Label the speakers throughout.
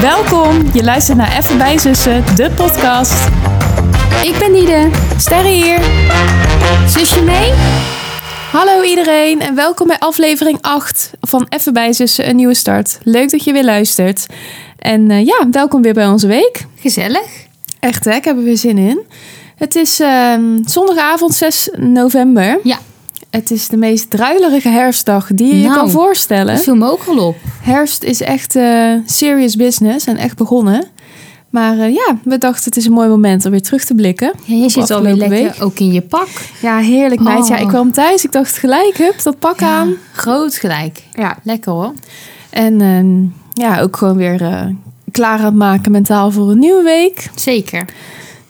Speaker 1: Welkom, je luistert naar Even bij Zussen, de podcast.
Speaker 2: Ik ben Nide.
Speaker 1: Sterre hier.
Speaker 2: Zusje mee?
Speaker 1: Hallo iedereen en welkom bij aflevering 8 van Even bij Zussen, een nieuwe start. Leuk dat je weer luistert. En eh, ja, welkom weer bij onze week.
Speaker 2: Gezellig.
Speaker 1: Echt hè, ik heb er weer zin in. Het is ehm, zondagavond 6 november.
Speaker 2: Ja.
Speaker 1: Het is de meest druilerige herfstdag die je je
Speaker 2: Nou.
Speaker 1: kan voorstellen.
Speaker 2: Dat viel me ook wel op.
Speaker 1: Herfst is echt eh, serious business en echt begonnen. Maar eh, ja, we dachten het is een mooi moment om weer terug te blikken.
Speaker 2: Ja, je zit alweer
Speaker 1: Afgelopen
Speaker 2: lekker
Speaker 1: week.
Speaker 2: ook in je pak.
Speaker 1: Ja, heerlijk meid. Ja,
Speaker 2: Oh.
Speaker 1: ik kwam thuis, ik dacht gelijk, hup, dat pak aan.
Speaker 2: Ja, Groot gelijk.
Speaker 1: Ja.
Speaker 2: Lekker hoor.
Speaker 1: En ehm, ja, ook gewoon weer eh, klaar aan het maken mentaal voor een nieuwe week.
Speaker 2: Zeker.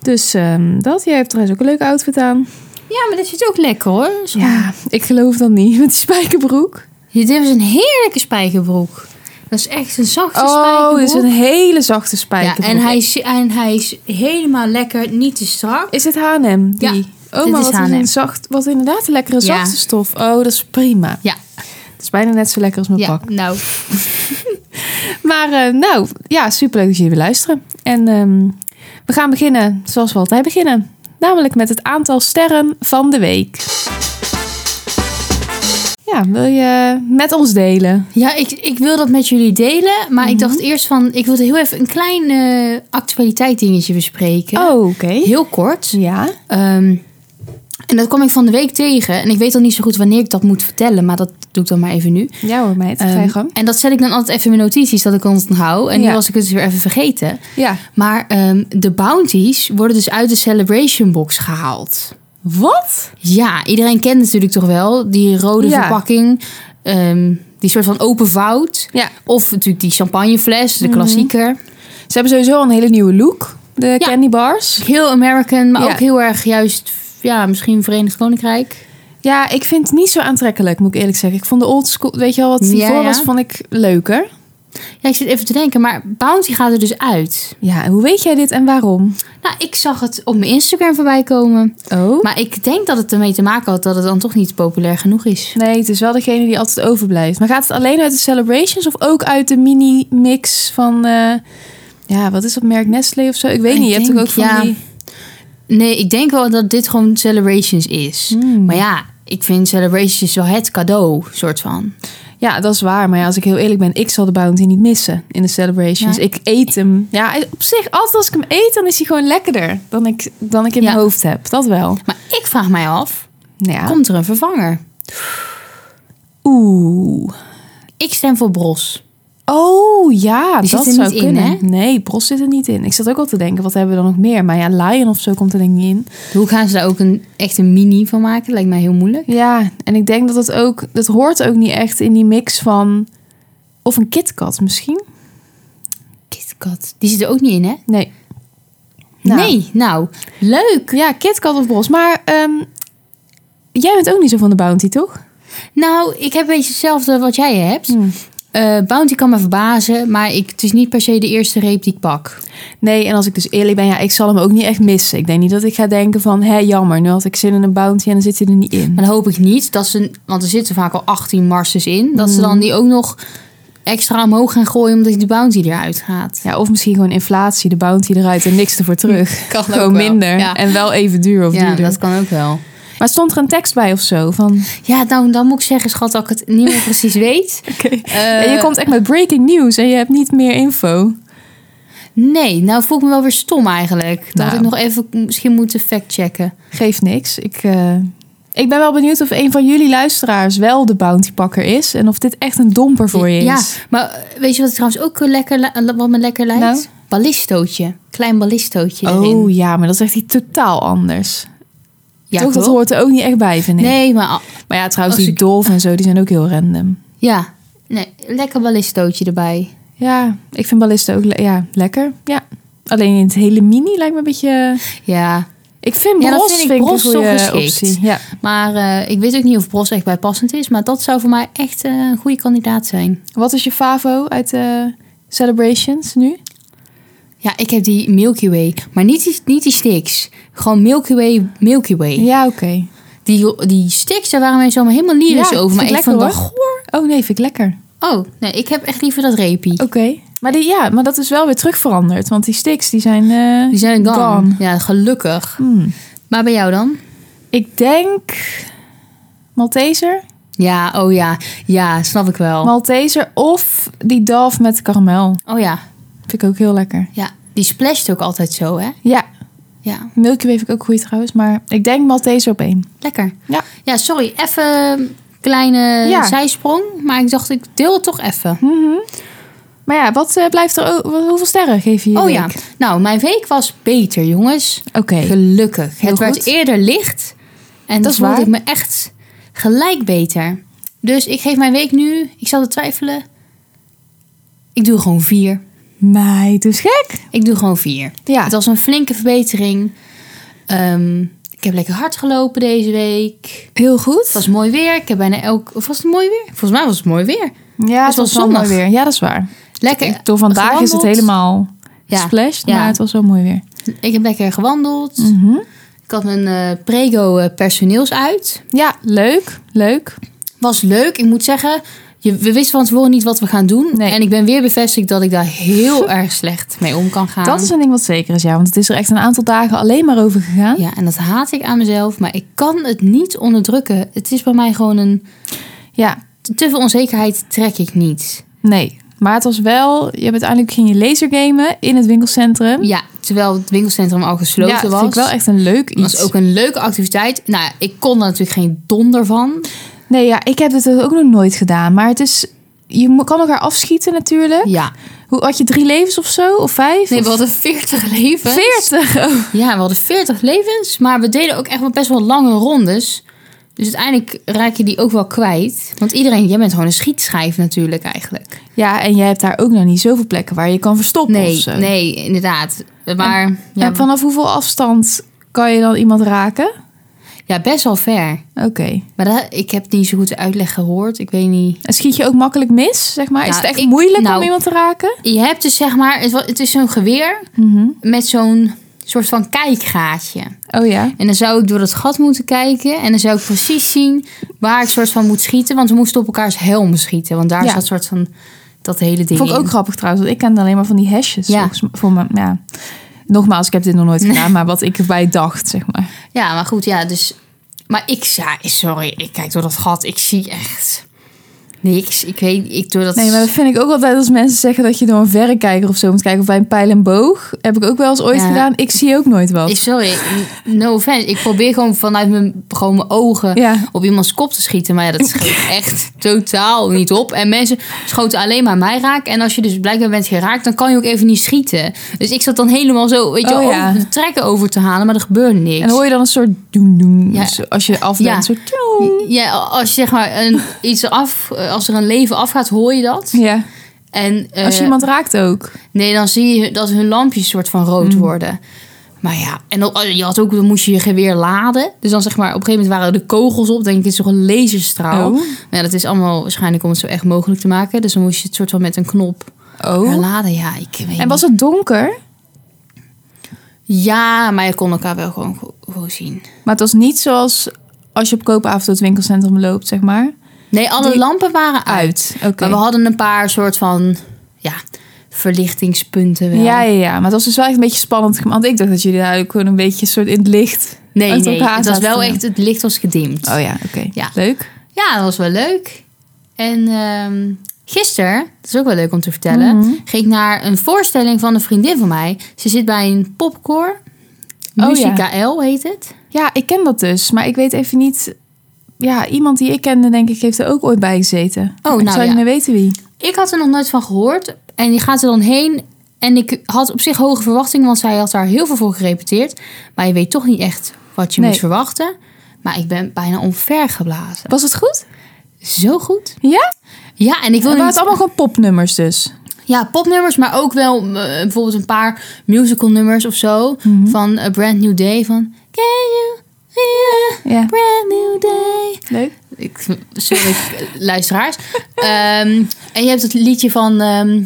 Speaker 1: Dus ehm, dat, jij hebt trouwens ook een leuke outfit aan.
Speaker 2: Ja, maar dit zit ook lekker hoor. Zo-
Speaker 1: Ja, ik geloof dat niet, met die spijkerbroek.
Speaker 2: Dit is een heerlijke spijkerbroek. Dat is echt een zachte
Speaker 1: Oh,
Speaker 2: spijkerbroek.
Speaker 1: dit is een hele zachte
Speaker 2: ja,
Speaker 1: spijkerbroek.
Speaker 2: en hij, is, en hij is helemaal lekker, niet te strak.
Speaker 1: Is het H&M? Die?
Speaker 2: Ja,
Speaker 1: Oh,
Speaker 2: dit
Speaker 1: maar
Speaker 2: is
Speaker 1: wat, is
Speaker 2: H&M.
Speaker 1: een zacht, wat inderdaad een lekkere
Speaker 2: Ja.
Speaker 1: zachte stof. Oh, dat is prima.
Speaker 2: Ja,
Speaker 1: Het is bijna net zo lekker als mijn
Speaker 2: ja
Speaker 1: pak.
Speaker 2: nou,
Speaker 1: Maar eh, nou, ja, superleuk dat jullie weer luisteren. En ehm, we gaan beginnen zoals we altijd beginnen. Namelijk met het aantal sterren van de week. Ja, wil je met ons delen?
Speaker 2: Ja, ik, ik wil dat met jullie delen. Maar ik dacht eerst van, ik wilde heel even een klein eh actualiteit dingetje bespreken.
Speaker 1: Oh, oké.
Speaker 2: Heel kort.
Speaker 1: Ja.
Speaker 2: Ehm, en dat kwam ik van de week tegen. En ik weet al niet zo goed wanneer ik dat moet vertellen. Maar dat doe ik dan maar even nu.
Speaker 1: Ja hoor, meid. Ga je
Speaker 2: Ehm,
Speaker 1: gang.
Speaker 2: en dat zet ik dan altijd even in mijn notities, dat ik ons onthoud. En
Speaker 1: Ja.
Speaker 2: nu was ik het dus weer even vergeten.
Speaker 1: Ja.
Speaker 2: Maar ehm, de bounties worden dus uit de Celebration Box gehaald.
Speaker 1: Wat?
Speaker 2: Ja, iedereen kent natuurlijk toch wel die rode
Speaker 1: Ja.
Speaker 2: verpakking. ehm, die soort van open vout.
Speaker 1: Ja.
Speaker 2: Of natuurlijk die champagnefles,
Speaker 1: Mhm.
Speaker 2: de klassieker.
Speaker 1: Ze hebben sowieso al een hele nieuwe look. De
Speaker 2: Ja.
Speaker 1: candy bars.
Speaker 2: Heel American, maar
Speaker 1: Ja.
Speaker 2: ook heel erg juist, ja, misschien Verenigd Koninkrijk.
Speaker 1: Ja, ik vind het niet zo aantrekkelijk, moet ik eerlijk zeggen. Ik vond de old school, weet je wel, wat die
Speaker 2: Ja,
Speaker 1: voor
Speaker 2: ja.
Speaker 1: was, vond ik leuker.
Speaker 2: Ja, ik zit even te denken, maar Bounty gaat er dus uit.
Speaker 1: Ja, hoe weet jij dit en waarom?
Speaker 2: Nou, ik zag het op mijn Instagram voorbij komen.
Speaker 1: Oh.
Speaker 2: Maar ik denk dat het ermee te maken had dat het dan toch niet populair genoeg is.
Speaker 1: Nee, het is wel degene die altijd overblijft. Maar gaat het alleen uit de celebrations of ook uit de mini-mix van... eh, ja, wat is dat merk? Nestlé of zo? Ik weet
Speaker 2: Ik
Speaker 1: niet, je hebt toch
Speaker 2: denk,
Speaker 1: ook van
Speaker 2: ja.
Speaker 1: die...
Speaker 2: Nee, ik denk wel dat dit gewoon Celebrations is. Maar ja, ik vind Celebrations wel het cadeau, soort van.
Speaker 1: Ja, dat is waar. Maar ja, als ik heel eerlijk ben, ik zal de Bounty niet missen in de celebrations.
Speaker 2: Ja.
Speaker 1: Ik eet hem. Ja, hij- op zich, altijd als ik hem eet, dan is hij gewoon lekkerder dan ik, dan ik in
Speaker 2: Ja.
Speaker 1: mijn hoofd heb. Dat wel.
Speaker 2: Maar ik vraag mij af,
Speaker 1: Nou Ja.
Speaker 2: komt er een vervanger?
Speaker 1: Oeh.
Speaker 2: Ik stem voor Bros.
Speaker 1: Oh ja,
Speaker 2: Die
Speaker 1: dat
Speaker 2: zit er
Speaker 1: zou
Speaker 2: niet in,
Speaker 1: kunnen.
Speaker 2: hè?
Speaker 1: Nee, Bros zit er niet in. Ik zat ook al te denken, wat hebben we dan nog meer? Maar ja, Lion of zo komt er denk ik niet in.
Speaker 2: Hoe gaan ze daar ook een, echt een mini van maken? Lijkt mij heel moeilijk.
Speaker 1: Ja, en ik denk dat dat ook, dat hoort ook niet echt in die mix van. Of een KitKat misschien?
Speaker 2: KitKat, die zit er ook niet in, hè?
Speaker 1: Nee. Nou,
Speaker 2: Nee, nou, leuk.
Speaker 1: Ja, KitKat of Bos. Maar ehm, jij bent ook niet zo van de Bounty, toch?
Speaker 2: Nou, ik heb een beetje hetzelfde wat jij hebt.
Speaker 1: Hmm.
Speaker 2: Eh, Bounty kan me verbazen, maar ik, het is niet per se de eerste reep die ik pak.
Speaker 1: Nee, en als ik dus eerlijk ben, ja, ik zal hem ook niet echt missen. Ik denk niet dat ik ga denken van, hé, jammer, nu had ik zin in een Bounty en dan zit hij er niet in.
Speaker 2: Maar dan hoop ik niet dat ze, want er zitten vaak al 18 marses in, dat ze
Speaker 1: Hmm.
Speaker 2: dan die ook nog extra omhoog gaan gooien omdat die Bounty eruit gaat.
Speaker 1: Ja, of misschien gewoon inflatie, de Bounty eruit en niks ervoor terug.
Speaker 2: Kan ook
Speaker 1: gewoon
Speaker 2: wel,
Speaker 1: minder
Speaker 2: ja.
Speaker 1: en wel even duur of
Speaker 2: Ja,
Speaker 1: duurder.
Speaker 2: dat kan ook wel.
Speaker 1: Maar stond er een tekst bij of zo? Van,
Speaker 2: Ja, nou, dan moet ik zeggen, schat, dat ik het niet meer precies weet. Eh,
Speaker 1: Ja, je komt echt met breaking news en je hebt niet meer info.
Speaker 2: Nee, nou voel ik me wel weer stom eigenlijk. Dat had
Speaker 1: Nou.
Speaker 2: ik nog even misschien moeten factchecken.
Speaker 1: Geeft niks. Ik, eh, ik ben wel benieuwd of een van jullie luisteraars wel de bountypakker is. En of dit echt een domper voor je
Speaker 2: Ja,
Speaker 1: is.
Speaker 2: maar eh, weet je wat trouwens ook eh, lekker, li- wat me lekker lijkt?
Speaker 1: Nou?
Speaker 2: Ballistootje. Klein ballistootje erin.
Speaker 1: oh ja, maar dat is echt iets totaal anders.
Speaker 2: ja,
Speaker 1: toch, dat hoort er ook niet echt bij, vind ik.
Speaker 2: Nee, maar al-
Speaker 1: Maar ja, trouwens,
Speaker 2: Als
Speaker 1: die
Speaker 2: ik-
Speaker 1: dolf en zo, die zijn ook heel random.
Speaker 2: ja. Nee, lekker ballistootje erbij.
Speaker 1: Ja, ik vind ballisten ook le- ja, lekker. Ja. Alleen in het hele mini lijkt me een beetje...
Speaker 2: Ja,
Speaker 1: Ik vind
Speaker 2: Ja, dat
Speaker 1: bros,
Speaker 2: vind ik
Speaker 1: vind ik
Speaker 2: bros
Speaker 1: een
Speaker 2: toch
Speaker 1: goede
Speaker 2: geschikt.
Speaker 1: optie. Ja.
Speaker 2: maar eh, ik weet ook niet of Bros echt bijpassend is. Maar dat zou voor mij echt eh, een goede kandidaat zijn.
Speaker 1: Wat is je favo uit de Celebrations nu?
Speaker 2: Ja, ik heb die Milky Way. Maar niet die, niet die sticks. Gewoon Milky Way, Milky Way.
Speaker 1: Ja, oké.
Speaker 2: Die, die sticks, daar waren mensen allemaal helemaal lyrisch
Speaker 1: Ja,
Speaker 2: over. Maar
Speaker 1: vind
Speaker 2: ik
Speaker 1: ik
Speaker 2: vond
Speaker 1: lekker,
Speaker 2: dat...
Speaker 1: Oh nee, vind ik lekker.
Speaker 2: Oh, nee, ik heb echt liever dat repie.
Speaker 1: Oké. Maar, die, ja, maar dat is wel weer terug veranderd. Want die sticks die zijn... eh,
Speaker 2: Die zijn gone.
Speaker 1: Gone.
Speaker 2: Ja, gelukkig.
Speaker 1: hmm.
Speaker 2: Maar bij jou dan?
Speaker 1: Ik denk... Malteser?
Speaker 2: Ja, oh ja. Ja, snap ik
Speaker 1: Oh.
Speaker 2: wel.
Speaker 1: Malteser of die Dove met karamel.
Speaker 2: oh ja.
Speaker 1: Vind ik ook heel lekker.
Speaker 2: Ja, die splasht ook altijd zo, hè?
Speaker 1: Ja,
Speaker 2: Ja,
Speaker 1: Milky Way vind ik ook goed trouwens. Maar ik denk Malteser op één.
Speaker 2: lekker.
Speaker 1: Ja.
Speaker 2: Ja, sorry. Even kleine
Speaker 1: Ja.
Speaker 2: zijsprong. Maar ik dacht, ik deel het toch even.
Speaker 1: Mhm. Maar ja, wat eh, blijft er... o- wat- Hoeveel sterren geef je je
Speaker 2: Oh
Speaker 1: week?
Speaker 2: ja. Nou, mijn week was beter, jongens.
Speaker 1: Oké.
Speaker 2: Gelukkig.
Speaker 1: Heel
Speaker 2: het werd
Speaker 1: goed.
Speaker 2: eerder licht. En
Speaker 1: Dat
Speaker 2: dat
Speaker 1: is
Speaker 2: voelde
Speaker 1: waar.
Speaker 2: ik me echt gelijk beter. Dus ik geef mijn week nu, ik zal het twijfelen. Ik doe gewoon vier.
Speaker 1: Meid, dus gek.
Speaker 2: Ik doe gewoon vier.
Speaker 1: Ja.
Speaker 2: Het was een flinke verbetering. Ehm, ik heb lekker hard gelopen deze week.
Speaker 1: Heel goed.
Speaker 2: Het was mooi weer. Ik heb bijna elk. Of was het mooi weer? Volgens mij was het mooi weer.
Speaker 1: ja,
Speaker 2: het was
Speaker 1: wel
Speaker 2: zonnig.
Speaker 1: mooi weer. Ja, dat is waar.
Speaker 2: Lekker.
Speaker 1: Ik- door vandaag is het
Speaker 2: gewandeld.
Speaker 1: helemaal
Speaker 2: Ja.
Speaker 1: splashed,
Speaker 2: Ja. Mhm.
Speaker 1: maar het was wel mooi weer.
Speaker 2: Ik heb lekker gewandeld.
Speaker 1: Mm.
Speaker 2: Ik had mijn eh, prego eh, personeelsuit.
Speaker 1: Ja, leuk, leuk.
Speaker 2: Was leuk. Ik moet zeggen, je, we wisten van tevoren niet wat we gaan doen.
Speaker 1: Nee.
Speaker 2: En ik ben weer bevestigd dat ik daar heel erg slecht mee om kan gaan.
Speaker 1: Dat is een ding wat zeker is, ja. Want het is er echt een aantal dagen alleen maar over gegaan. Ja,
Speaker 2: Ja, en dat haat ik aan mezelf. Maar ik kan het niet onderdrukken. Het is bij mij gewoon een... Te veel onzekerheid trek ik niet.
Speaker 1: nee. Maar het was wel, je hebt uiteindelijk ging je lasergamen in het winkelcentrum.
Speaker 2: Ja, terwijl het winkelcentrum al gesloten
Speaker 1: ja, dat
Speaker 2: was.
Speaker 1: vind ik wel echt een leuk
Speaker 2: Het
Speaker 1: iets.
Speaker 2: was ook een leuke activiteit. Nou, ja, ik kon er natuurlijk geen donder van.
Speaker 1: Nee, ja, ik heb het ook nog nooit gedaan. Maar het is, je mo- kan elkaar afschieten natuurlijk.
Speaker 2: Ja.
Speaker 1: Hoe, had je drie levens of zo? Of vijf?
Speaker 2: Nee,
Speaker 1: Of
Speaker 2: we hadden 40 levens.
Speaker 1: 40. Oh.
Speaker 2: Ja, we hadden 40 levens, maar we deden ook echt wel best wel lange rondes. Dus uiteindelijk raak je die ook wel kwijt. Want iedereen, jij bent gewoon een schietschijf natuurlijk eigenlijk.
Speaker 1: Ja, en jij hebt daar ook nog niet zoveel plekken waar je kan verstoppen of
Speaker 2: Nee,
Speaker 1: zo.
Speaker 2: nee, inderdaad. Maar ja,
Speaker 1: En vanaf hoeveel afstand kan je dan iemand raken?
Speaker 2: ja, best wel ver.
Speaker 1: Oké.
Speaker 2: Maar dat, ik heb niet zo goed de uitleg gehoord. Ik weet niet.
Speaker 1: En schiet je ook makkelijk mis, zeg maar? is
Speaker 2: Nou,
Speaker 1: het echt
Speaker 2: ik-
Speaker 1: moeilijk om
Speaker 2: nou-
Speaker 1: iemand te raken?
Speaker 2: Je hebt dus zeg maar, het, wa- het is zo'n geweer
Speaker 1: Mhm.
Speaker 2: met zo'n soort van kijkgaatje.
Speaker 1: Oh ja.
Speaker 2: En dan zou ik door dat gat moeten kijken. En dan zou ik precies zien waar ik soort van moet schieten. Want we moesten op elkaars helm schieten. Want daar
Speaker 1: Ja.
Speaker 2: is dat soort van dat hele ding
Speaker 1: Vond ik
Speaker 2: in.
Speaker 1: ook grappig trouwens, want ik ken alleen maar van die hesjes.
Speaker 2: Ja.
Speaker 1: volgens m- Voor me, ja. Nogmaals, ik heb dit nog nooit gedaan, maar wat ik erbij dacht, zeg maar.
Speaker 2: Ja, maar goed, ja, dus... Maar ik, ja, sorry, ik kijk door dat gat. Ik zie echt niks. Ik weet, ik doe dat...
Speaker 1: Nee, maar dat vind ik ook altijd als mensen zeggen dat je door een verrekijker of zo moet kijken. Of bij een pijl en boog. Heb ik ook wel eens ooit
Speaker 2: Ja.
Speaker 1: gedaan. Ik zie ook nooit wat.
Speaker 2: Ik- Sorry, n- no offense. Ik probeer gewoon vanuit mijn, gewoon mijn ogen
Speaker 1: Ja.
Speaker 2: op iemands kop te schieten. Maar ja, dat schiet echt totaal niet op. En mensen schoten alleen maar mij raak. En als je dus blijkbaar bent geraakt, dan kan je ook even niet schieten. Dus ik zat dan helemaal zo, weet je,
Speaker 1: Oh,
Speaker 2: om
Speaker 1: ja.
Speaker 2: de trekken over te halen. Maar er gebeurde niks.
Speaker 1: En hoor je dan een soort doen doen
Speaker 2: Ja.
Speaker 1: zo- Dus als je af bent.
Speaker 2: Ja.
Speaker 1: Zo tjoeng.
Speaker 2: ja, als je zeg maar een, iets af, als er een leven afgaat, hoor je dat.
Speaker 1: Ja.
Speaker 2: En eh,
Speaker 1: Als je iemand raakt ook.
Speaker 2: nee, dan zie je dat hun lampjes soort van
Speaker 1: Mm.
Speaker 2: rood worden. Maar ja, en dan, eh, je had ook, dan moest je je geweer laden. Dus dan zeg maar, op een gegeven moment waren er kogels op. Denk ik, het is toch een laserstraal.
Speaker 1: Oh.
Speaker 2: Maar ja, dat is allemaal waarschijnlijk om het zo echt mogelijk te maken. Dus dan moest je het soort van met een knop
Speaker 1: Oh.
Speaker 2: laden. Ja, ik weet
Speaker 1: En
Speaker 2: niet.
Speaker 1: was het donker?
Speaker 2: Ja, maar je kon elkaar wel gewoon, go- gewoon zien.
Speaker 1: Maar het was niet zoals als je op koopavond door het winkelcentrum loopt, zeg maar.
Speaker 2: Nee, alle
Speaker 1: Die-
Speaker 2: lampen waren uit.
Speaker 1: Uit. Oké.
Speaker 2: Maar we hadden een paar soort van, ja, verlichtingspunten wel.
Speaker 1: Ja, ja, ja. Maar het was dus wel echt een beetje spannend. Want ik dacht dat jullie daar ook gewoon een beetje soort in het licht...
Speaker 2: nee,
Speaker 1: uit
Speaker 2: nee,
Speaker 1: elkaar
Speaker 2: het was
Speaker 1: zaten.
Speaker 2: wel echt, het licht was gedimd.
Speaker 1: Oh ja, oké.
Speaker 2: Ja.
Speaker 1: Leuk.
Speaker 2: Ja, dat was wel leuk. En ehm gisteren, dat is ook wel leuk om te vertellen,
Speaker 1: Mhm.
Speaker 2: ging ik naar een voorstelling van een vriendin van mij. Ze zit bij een popcore.
Speaker 1: Oh ja.
Speaker 2: Musica L heet het.
Speaker 1: Ja, ik ken dat dus. Maar ik weet even niet... Ja, iemand die ik kende, denk ik, heeft er ook ooit bij gezeten.
Speaker 2: nou
Speaker 1: ik zou niet
Speaker 2: ja.
Speaker 1: meer weten wie.
Speaker 2: Ik had er nog nooit van gehoord. En die gaat er dan heen. En ik had op zich hoge verwachtingen, want zij had daar heel veel voor gerepeteerd. Maar je weet toch niet echt wat je
Speaker 1: Nee.
Speaker 2: moet verwachten. Maar ik ben bijna omvergeblazen.
Speaker 1: Was het goed?
Speaker 2: Zo goed.
Speaker 1: Ja?
Speaker 2: Ja, en ik
Speaker 1: Het
Speaker 2: wil
Speaker 1: waren
Speaker 2: niet
Speaker 1: het allemaal gewoon popnummers dus.
Speaker 2: Ja, popnummers, maar ook wel eh, bijvoorbeeld een paar musical nummers of zo.
Speaker 1: Mhm.
Speaker 2: Van A Brand New Day. Van Can you feel a
Speaker 1: Ja.
Speaker 2: brand new day?
Speaker 1: Leuk.
Speaker 2: Ik, sorry, luisteraars. Ehm, en je hebt het liedje van ehm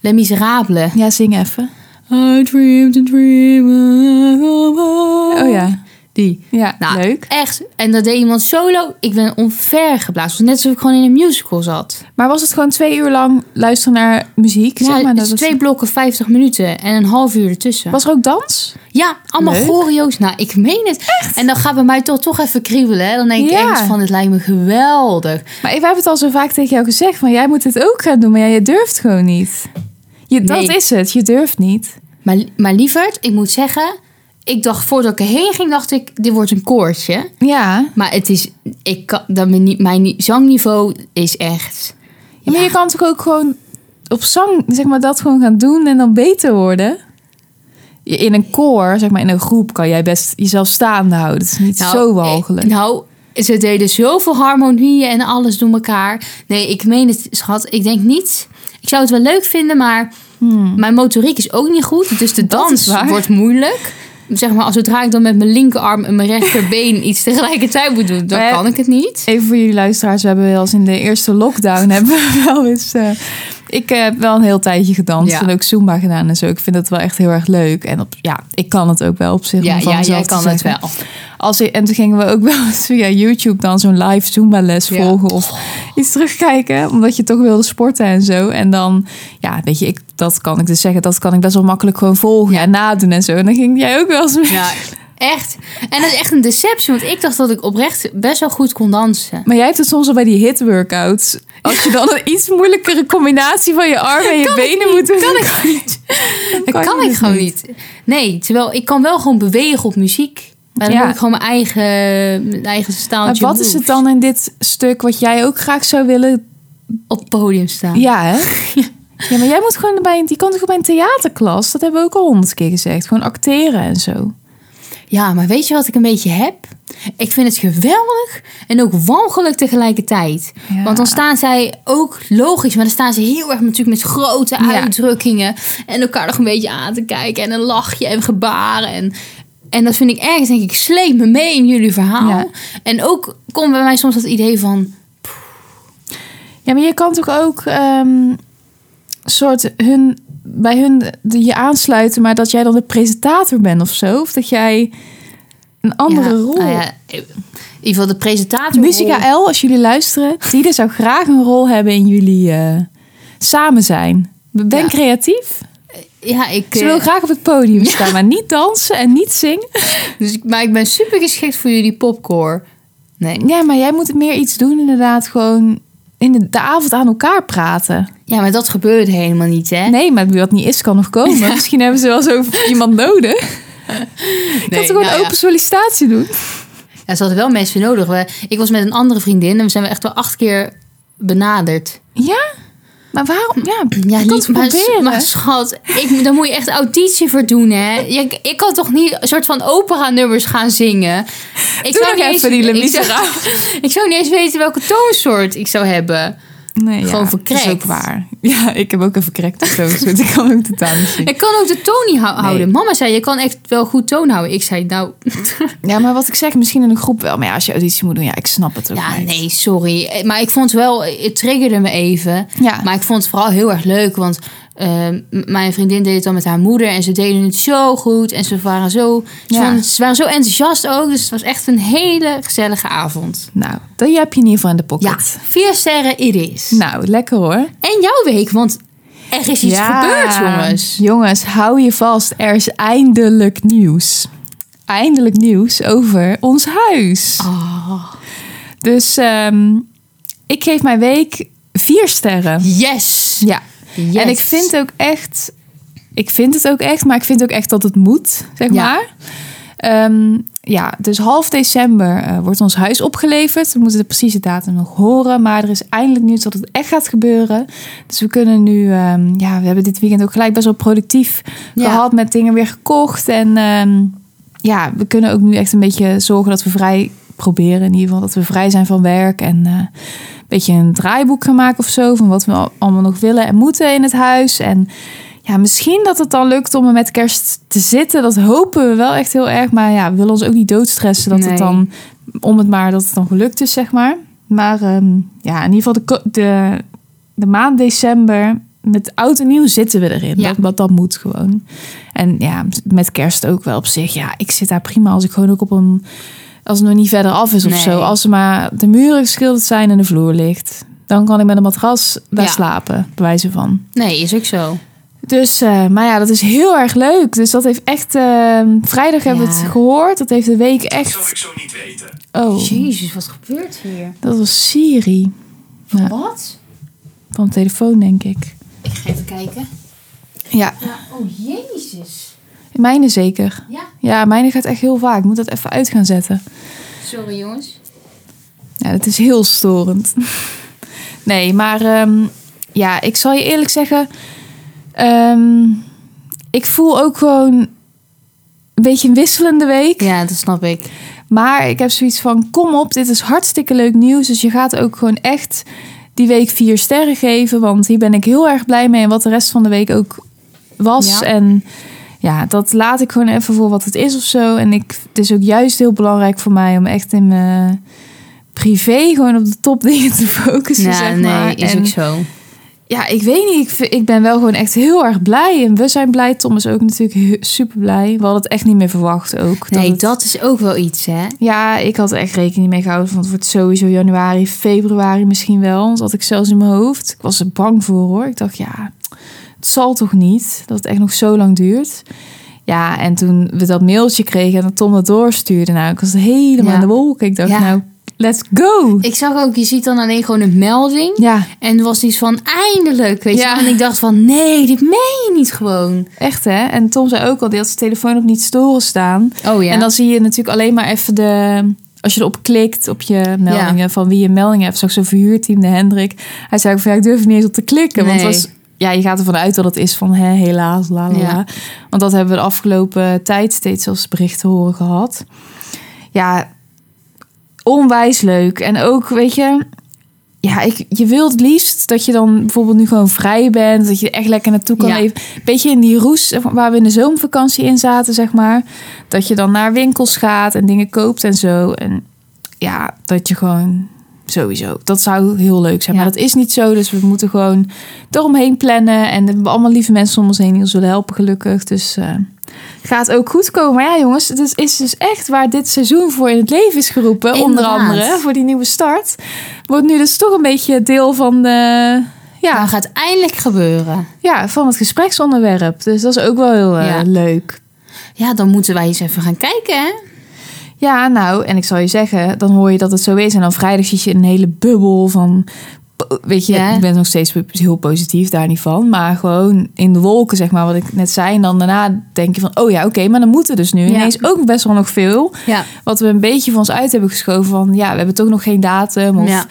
Speaker 2: Les Miserables.
Speaker 1: Ja, zing even.
Speaker 2: I dreamed a dream.
Speaker 1: Oh ja.
Speaker 2: die.
Speaker 1: Ja,
Speaker 2: Nou,
Speaker 1: leuk.
Speaker 2: Echt. En dat deed iemand solo. Ik ben onver geblazen. Het was net alsof ik gewoon in een musical zat.
Speaker 1: Maar was het gewoon twee uur lang luisteren naar muziek?
Speaker 2: Ja,
Speaker 1: zeg maar,
Speaker 2: het is
Speaker 1: dat
Speaker 2: twee blokken 50 minuten en een half uur ertussen.
Speaker 1: Was er ook dans?
Speaker 2: Ja, allemaal
Speaker 1: Leuk.
Speaker 2: choreo's. Nou, ik meen het. En dan gaat bij mij toch, toch even kriebelen. Hè? Dan denk ik
Speaker 1: Ja.
Speaker 2: ergens van, het lijkt me geweldig.
Speaker 1: Maar we hebben het al zo vaak tegen jou gezegd. Van jij moet dit ook gaan doen. Maar ja, je durft gewoon niet. Je,
Speaker 2: Nee.
Speaker 1: Dat is het. Je durft niet.
Speaker 2: Maar, maar lieverd, ik moet zeggen... Ik dacht, voordat ik erheen ging, dacht ik, dit wordt een koortje.
Speaker 1: Ja.
Speaker 2: Maar het is, ik kan, dat mijn, ni- mijn ni- zangniveau is echt...
Speaker 1: Ja, Maar
Speaker 2: Ja.
Speaker 1: je kan toch ook gewoon op zang, zeg maar, dat gewoon gaan doen en dan beter worden? Je- In een koor, zeg maar, in een groep kan jij best jezelf staande houden. Het is niet
Speaker 2: Nou,
Speaker 1: zo walgelijk.
Speaker 2: eh, Nou, ze deden zoveel harmonieën en alles door elkaar. Nee, ik meen het, schat. Ik denk niet. Ik zou het wel leuk vinden, maar
Speaker 1: Hmm.
Speaker 2: mijn motoriek is ook niet goed. Dus de
Speaker 1: Hm. Dat is
Speaker 2: dans
Speaker 1: waar.
Speaker 2: wordt moeilijk. Zeg maar, als zodra ik dan met mijn linkerarm en mijn rechterbeen iets tegelijkertijd moet doen, dan
Speaker 1: Maar-
Speaker 2: kan ik het niet.
Speaker 1: Even voor jullie luisteraars, we hebben wel eens in de eerste lockdown hebben we wel eens. eh, ik heb wel een heel tijdje gedanst
Speaker 2: Ja.
Speaker 1: en ook Zumba gedaan en zo. Ik vind dat wel echt heel erg leuk. En op, ja, ik kan het ook wel op zich.
Speaker 2: Ja,
Speaker 1: om van
Speaker 2: ja
Speaker 1: mezelf
Speaker 2: jij
Speaker 1: te
Speaker 2: kan het
Speaker 1: zeggen.
Speaker 2: wel.
Speaker 1: Als, ik- en toen gingen we ook wel eens via YouTube dan zo'n live Zumba les
Speaker 2: Ja.
Speaker 1: volgen of iets terugkijken. Omdat je toch wilde sporten en zo. En dan, ja, weet je, ik, dat kan ik dus zeggen. Dat kan ik best wel makkelijk gewoon volgen en nadoen en zo. En dan ging jij ook wel eens mee.
Speaker 2: Ja, echt. En dat is echt een deceptie, want ik dacht dat ik oprecht best wel goed kon dansen.
Speaker 1: Maar jij hebt het soms al bij die hit workouts. Als je dan een iets moeilijkere combinatie van je armen en je benen moet doen. Kan ik niet.
Speaker 2: Dat kan, ik gewoon niet. Nee, terwijl ik kan wel gewoon bewegen op muziek. Maar dan
Speaker 1: Ja.
Speaker 2: moet ik gewoon mijn eigen, mijn eigen
Speaker 1: Maar
Speaker 2: staaltje
Speaker 1: wat is het
Speaker 2: moves
Speaker 1: dan in dit stuk wat jij ook graag zou willen?
Speaker 2: op het podium staan?
Speaker 1: Ja, hè? Ja, maar jij moet gewoon bij een, je kan toch ook bij een theaterklas? Dat hebben we ook al honderd keer gezegd. Gewoon acteren en zo.
Speaker 2: Ja, maar weet je wat ik een beetje heb? Ik vind het geweldig en ook walgelijk tegelijkertijd.
Speaker 1: Ja.
Speaker 2: Want dan staan zij ook logisch, maar dan staan ze heel erg natuurlijk met grote
Speaker 1: Ja.
Speaker 2: uitdrukkingen. En elkaar nog een beetje aan te kijken en een lachje en gebaren. En, en dat vind ik ergens, denk ik, sleep me mee in jullie verhaal.
Speaker 1: Ja.
Speaker 2: En ook komt bij mij soms dat idee van,
Speaker 1: Ja, maar je kan toch ook ehm, soort hun, bij hun de, je aansluiten, maar dat jij dan de presentator bent of zo? Of dat jij een andere
Speaker 2: Ja,
Speaker 1: rol
Speaker 2: nou ja, in ieder geval de presentator.
Speaker 1: Musica L, als jullie luisteren, die zou graag een rol hebben in jullie eh, samen zijn. Ben
Speaker 2: Ja.
Speaker 1: creatief.
Speaker 2: Ja, ik,
Speaker 1: Ze
Speaker 2: eh,
Speaker 1: wil graag op het podium staan, maar niet dansen en niet zingen.
Speaker 2: dus, ik- maar ik ben super geschikt voor jullie popcore. Nee.
Speaker 1: Ja, maar jij moet meer iets doen inderdaad. Gewoon in de, de avond aan elkaar praten.
Speaker 2: Ja, maar dat gebeurde helemaal niet, hè?
Speaker 1: Nee, maar wie wat niet is, kan nog komen. Misschien hebben ze wel zo iemand nodig. Ik kan
Speaker 2: Nee,
Speaker 1: toch ook een
Speaker 2: nou ja.
Speaker 1: open sollicitatie doen?
Speaker 2: Ja, ze hadden wel mensen nodig. We, ik was met een andere vriendin en we zijn echt wel acht keer benaderd.
Speaker 1: Ja? Maar waarom? Ja,
Speaker 2: Ja,
Speaker 1: je kan
Speaker 2: lief,
Speaker 1: het
Speaker 2: maar,
Speaker 1: proberen.
Speaker 2: maar schat, ik, daar moet je echt auditie voor doen, hè? Ik, ik kan toch niet een soort van opera-nummers gaan zingen? Ik
Speaker 1: Doe nog
Speaker 2: niet
Speaker 1: even die Le
Speaker 2: ik, zou, ik zou niet eens weten welke toonsoort ik zou hebben.
Speaker 1: nee,
Speaker 2: gewoon
Speaker 1: dat
Speaker 2: verkrekt.
Speaker 1: is ook waar. Ja, ik heb ook een verkrekte toon. dus ik kan ook totaal niet zingen.
Speaker 2: Ik kan ook de toon niet hou- houden. Mama zei, je kan echt wel goed toon houden. Ik zei, nou...
Speaker 1: Ja, maar wat ik zeg, misschien in een groep wel. Maar ja, als je auditie moet doen, ja, ik snap het ook
Speaker 2: Ja,
Speaker 1: niet.
Speaker 2: nee, sorry. Eh, Maar ik vond wel... Het triggerde me even.
Speaker 1: Ja.
Speaker 2: Maar ik vond het vooral heel erg leuk. Want eh, m- mijn vriendin deed het dan met haar moeder. En ze deden het zo goed. En ze waren zo, ze
Speaker 1: Ja.
Speaker 2: vonden- ze waren zo enthousiast ook. Dus het was echt een hele gezellige avond.
Speaker 1: Nou, die heb je in ieder geval in de
Speaker 2: Ja,
Speaker 1: pocket.
Speaker 2: vier sterren it is.
Speaker 1: Nou, lekker hoor.
Speaker 2: En jouw week, want er is iets gebeurd, jongens.
Speaker 1: Jongens, hou je vast. Er is eindelijk nieuws. Eindelijk nieuws over ons huis.
Speaker 2: Oh,
Speaker 1: Dus ehm, ik geef mijn week vier sterren.
Speaker 2: yes.
Speaker 1: Ja.
Speaker 2: Yes.
Speaker 1: En ik vind ook echt, ik vind het ook echt, maar ik vind ook echt dat het moet, zeg
Speaker 2: Ja.
Speaker 1: maar. Ehm, ja, dus half december eh, wordt ons huis opgeleverd. We moeten de precieze datum nog horen, maar er is eindelijk nieuws dat het echt gaat gebeuren. Dus we kunnen nu, ehm, ja, we hebben dit weekend ook gelijk best wel productief
Speaker 2: Ja.
Speaker 1: gehad met dingen weer gekocht. En ehm, ja, we kunnen ook nu echt een beetje zorgen dat we vrij proberen in ieder geval dat we vrij zijn van werk en eh, een beetje een draaiboek gaan maken of zo van wat we al- allemaal nog willen en moeten in het huis en ja, misschien dat het dan lukt om er met kerst te zitten. Dat hopen we wel echt heel erg. Maar ja, we willen ons ook niet doodstressen dat
Speaker 2: Nee.
Speaker 1: het dan, om het maar, dat het dan gelukt is, zeg maar. Maar ehm, ja, in ieder geval de, ko- de, de maand december met oud en nieuw zitten we erin.
Speaker 2: Ja.
Speaker 1: Dat, dat, dat moet gewoon. En ja, met kerst ook wel op zich. Ja, ik zit daar prima als ik gewoon ook op een... Als het nog niet verder af is of
Speaker 2: Nee.
Speaker 1: zo. Als er maar de muren geschilderd zijn en de vloer ligt. Dan kan ik met een matras daar
Speaker 2: Ja.
Speaker 1: slapen, bij wijze van.
Speaker 2: Nee, is ook zo.
Speaker 1: Dus, eh, maar ja, dat is heel erg leuk. Dus dat heeft echt. eh, vrijdag hebben we
Speaker 2: Ja.
Speaker 1: het gehoord. Dat heeft de week
Speaker 3: zou ik
Speaker 1: echt.
Speaker 3: zo niet weten.
Speaker 1: Oh,
Speaker 2: Jezus, wat gebeurt hier?
Speaker 1: dat was Siri Ja.
Speaker 2: Wat?
Speaker 1: van de telefoon, denk ik.
Speaker 2: Ik ga even kijken.
Speaker 1: Ja,
Speaker 2: oh, jezus.
Speaker 1: mijne zeker.
Speaker 2: Ja.
Speaker 1: Ja, mijne gaat echt heel vaak. Ik moet dat even uit gaan zetten.
Speaker 2: Sorry, jongens.
Speaker 1: Ja, dat is heel storend. Nee, maar ehm, ja, ik zal je eerlijk zeggen. ehm, ik voel ook gewoon een beetje een wisselende week.
Speaker 2: Ja, dat snap ik.
Speaker 1: Maar ik heb zoiets van: kom op, dit is hartstikke leuk nieuws. Dus je gaat ook gewoon echt die week vier sterren geven. Want hier ben ik heel erg blij mee. En wat de rest van de week ook was.
Speaker 2: Ja.
Speaker 1: En ja, dat laat ik gewoon even voor wat het is of zo. En ik, het is ook juist heel belangrijk voor mij om echt in mijn privé gewoon op de top dingen te focussen.
Speaker 2: Ja,
Speaker 1: zeg
Speaker 2: nee,
Speaker 1: maar.
Speaker 2: is
Speaker 1: En-
Speaker 2: ook zo.
Speaker 1: ja, ik weet niet. Ik, vind- ik ben wel gewoon echt heel erg blij. En we zijn blij. Tom is ook natuurlijk super blij. We hadden het echt niet meer verwacht ook.
Speaker 2: Nee,
Speaker 1: het-
Speaker 2: dat is ook wel iets, hè?
Speaker 1: ja, ik had er echt rekening mee gehouden. Want het wordt sowieso januari, februari misschien wel. Dat had ik zelfs in mijn hoofd. Ik was er bang voor hoor. Ik dacht, ja, het zal toch niet dat het echt nog zo lang duurt. Ja, en toen we dat mailtje kregen en dat Tom dat doorstuurde. Nou, ik was helemaal
Speaker 2: Ja.
Speaker 1: in de wolken. Ik dacht,
Speaker 2: Ja.
Speaker 1: nou, let's go.
Speaker 2: Ik zag ook, je ziet dan alleen gewoon een melding.
Speaker 1: Ja,
Speaker 2: En er was iets van eindelijk, weet
Speaker 1: Ja.
Speaker 2: je. wel. En ik dacht van, nee, dit meen je niet gewoon.
Speaker 1: echt hè. En Tom zei ook al, die had zijn telefoon op niet storen staan.
Speaker 2: Oh ja.
Speaker 1: En dan zie je natuurlijk alleen maar even de. Als je erop klikt op je meldingen, van wie je meldingen hebt. Zag zo'n verhuurteam, de Hendrik. Hij zei ook van ja, ik durf er niet eens op te klikken. Want het
Speaker 2: Nee.
Speaker 1: was, ja, je gaat ervan uit dat het is van hè, helaas, la la la.
Speaker 2: Ja.
Speaker 1: Want dat hebben we de afgelopen tijd steeds als bericht te horen gehad. Ja, onwijs leuk. En ook, weet je, ja, ik, je wilt het liefst dat je dan bijvoorbeeld nu gewoon vrij bent. Dat je echt lekker naartoe kan
Speaker 2: Ja.
Speaker 1: leven. Beetje in die roes zeg maar, waar we in de zomervakantie in zaten, zeg maar. Dat je dan naar winkels gaat en dingen koopt en zo. En ja, dat je gewoon sowieso. Dat zou heel leuk zijn.
Speaker 2: Ja.
Speaker 1: Maar dat is niet zo. Dus we moeten gewoon eromheen plannen. En we hebben allemaal lieve mensen om ons heen die ons willen helpen, gelukkig. Dus eh, gaat ook goed komen. Maar ja, jongens, het is, is dus echt waar dit seizoen voor in het leven is geroepen. Eh, Onder
Speaker 2: Inderdaad.
Speaker 1: andere voor die nieuwe start. Wordt nu dus toch een beetje deel van de.
Speaker 2: Dan
Speaker 1: Ja,
Speaker 2: gaat het eindelijk gebeuren.
Speaker 1: ja, van het gespreksonderwerp. Dus dat is ook wel heel eh,
Speaker 2: Ja.
Speaker 1: leuk.
Speaker 2: Ja, dan moeten wij eens even gaan kijken, hè?
Speaker 1: Ja, nou, en ik zal je zeggen, dan hoor je dat het zo is. En dan vrijdag zit je in een hele bubbel van. po- Weet je,
Speaker 2: Ja.
Speaker 1: ik ben nog steeds heel positief daar niet van. Maar gewoon in de wolken, zeg maar, wat ik net zei. En dan daarna denk je van, oh ja, oké, maar dan moeten dus nu
Speaker 2: Ja.
Speaker 1: ineens ook best wel nog veel.
Speaker 2: Ja.
Speaker 1: Wat we een beetje van ons uit hebben geschoven van, ja, we hebben toch nog geen datum. Of,
Speaker 2: Ja.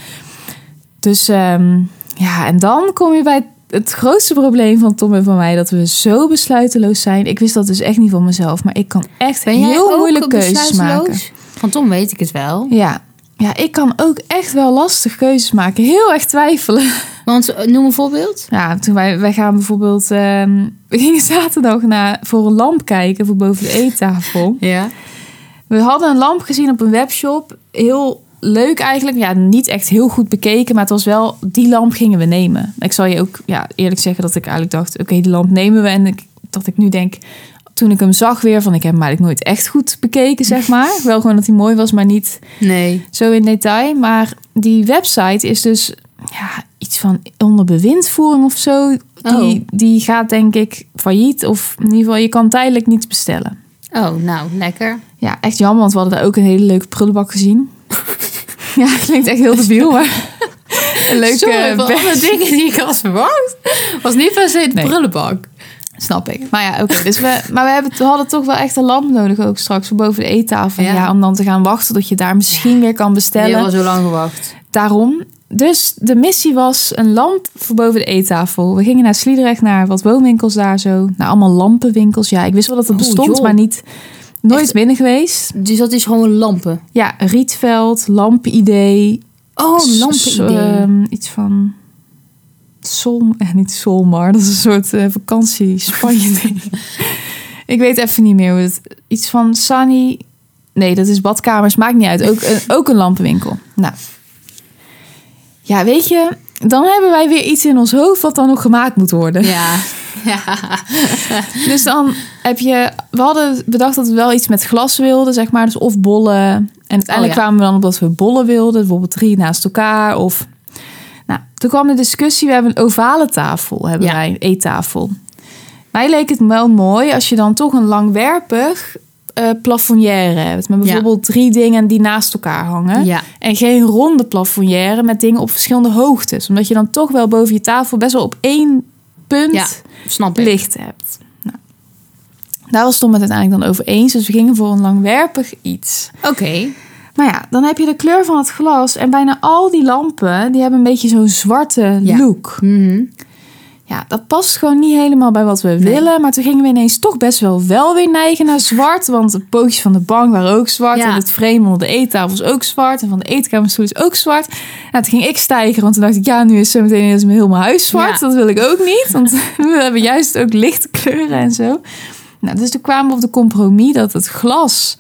Speaker 1: Dus ehm, ja, en dan kom je bij het grootste probleem van Tom en van mij. Dat we zo besluiteloos zijn. Ik wist dat dus echt niet van mezelf. Maar ik kan echt
Speaker 2: Ben jij
Speaker 1: heel
Speaker 2: ook
Speaker 1: moeilijk keuzes
Speaker 2: besluiteloos?
Speaker 1: maken.
Speaker 2: Van Tom weet ik het wel.
Speaker 1: Ja. ja, ik kan ook echt wel lastig keuzes maken. Heel erg twijfelen.
Speaker 2: Want, eh, noem een voorbeeld.
Speaker 1: Ja, toen wij, wij gaan bijvoorbeeld... ehm, we gingen zaterdag naar, voor een lamp kijken voor boven de eettafel.
Speaker 2: Ja.
Speaker 1: We hadden een lamp gezien op een webshop. Heel leuk eigenlijk. Ja, niet echt heel goed bekeken, maar het was wel... Die lamp gingen we nemen. Ik zal je ook ja, eerlijk zeggen dat ik eigenlijk dacht... Oké, die lamp nemen we. En ik, dat ik nu denk... Toen ik hem zag weer van... Ik heb hem eigenlijk nooit echt goed bekeken, zeg maar. Wel gewoon dat hij mooi was, maar niet
Speaker 2: Nee.
Speaker 1: zo in detail. Maar die website is dus ja, iets van onder bewindvoering of zo. Die,
Speaker 2: Oh.
Speaker 1: die gaat denk ik failliet. Of in ieder geval, je kan tijdelijk niets bestellen.
Speaker 2: Oh, nou, lekker.
Speaker 1: Ja, echt jammer, want we hadden daar ook een hele leuke prullenbak gezien. ja, het klinkt echt heel debiel, maar... Een leuke eh,
Speaker 2: Sorry voor
Speaker 1: bag.
Speaker 2: alle dingen die ik had verwacht. Was niet per se de
Speaker 1: Nee.
Speaker 2: prullenbak.
Speaker 1: Snap ik. Maar ja, oké. dus we, maar we, hebben, we hadden toch wel echt een lamp nodig ook straks voor boven de eettafel. Ja.
Speaker 2: Ja.
Speaker 1: om dan te gaan wachten tot je daar misschien weer kan
Speaker 2: Je
Speaker 1: bestellen.
Speaker 2: al zo lang gewacht.
Speaker 1: Daarom. Dus de missie was een lamp voor boven de eettafel. We gingen naar Sliedrecht, naar wat woonwinkels daar zo. Naar allemaal lampenwinkels. Ja, ik wist wel dat het
Speaker 2: Oh,
Speaker 1: bestond,
Speaker 2: joh.
Speaker 1: maar niet, nooit
Speaker 2: Echt?
Speaker 1: binnen geweest.
Speaker 2: Dus dat is gewoon lampen.
Speaker 1: Ja, Rietveld, Lampenidee.
Speaker 2: Oh,
Speaker 1: S- ehm, iets van... Sol, eh, niet Solmar, dat is een soort eh, vakantie Spanje ding. ik weet even niet meer hoe het... Iets van Sunny... Nee, dat is badkamers, maakt niet uit. Ook, een- ook een lampenwinkel. Nou. Ja, weet je, dan hebben wij weer iets in ons hoofd wat dan nog gemaakt moet worden.
Speaker 2: Ja. ja.
Speaker 1: Dus dan heb je... We hadden bedacht dat we wel iets met glas wilden, zeg maar. Dus of bollen. En uiteindelijk
Speaker 2: Oh, ja.
Speaker 1: kwamen we dan op dat we bollen wilden. Bijvoorbeeld drie naast elkaar. Of... Nou, toen kwam de discussie. We hebben een ovale tafel. Hebben
Speaker 2: Ja.
Speaker 1: wij, een eettafel. Mij leek het wel mooi als je dan toch een langwerpig eh plafonnière hebt. Met bijvoorbeeld drie dingen die naast elkaar hangen.
Speaker 2: Ja.
Speaker 1: En geen ronde plafonnière met dingen op verschillende hoogtes. Omdat je dan toch wel boven je tafel best wel op één punt
Speaker 2: Ja, snap ik.
Speaker 1: licht hebt. Nou, daar was Tom het uiteindelijk dan over eens. Dus we gingen voor een langwerpig iets.
Speaker 2: Oké.
Speaker 1: Maar ja, dan heb je de kleur van het glas. En bijna al die lampen, die hebben een beetje zo'n zwarte
Speaker 2: Ja.
Speaker 1: look.
Speaker 2: Mhm.
Speaker 1: Ja, dat past gewoon niet helemaal bij wat we willen. Maar toen gingen we ineens toch best wel wel weer neigen naar zwart. Want de pootjes van de bank waren ook zwart.
Speaker 2: Ja.
Speaker 1: En het frame onder de eettafel is ook zwart. En van de eetkamerstoel is ook zwart. Nou, toen ging ik stijgen. Want toen dacht ik, ja, nu is zo meteen is mijn heel mijn huis zwart.
Speaker 2: Ja.
Speaker 1: Dat wil ik ook niet. Want we hebben juist ook lichte kleuren en zo. Nou, dus toen kwamen we op de compromis dat het glas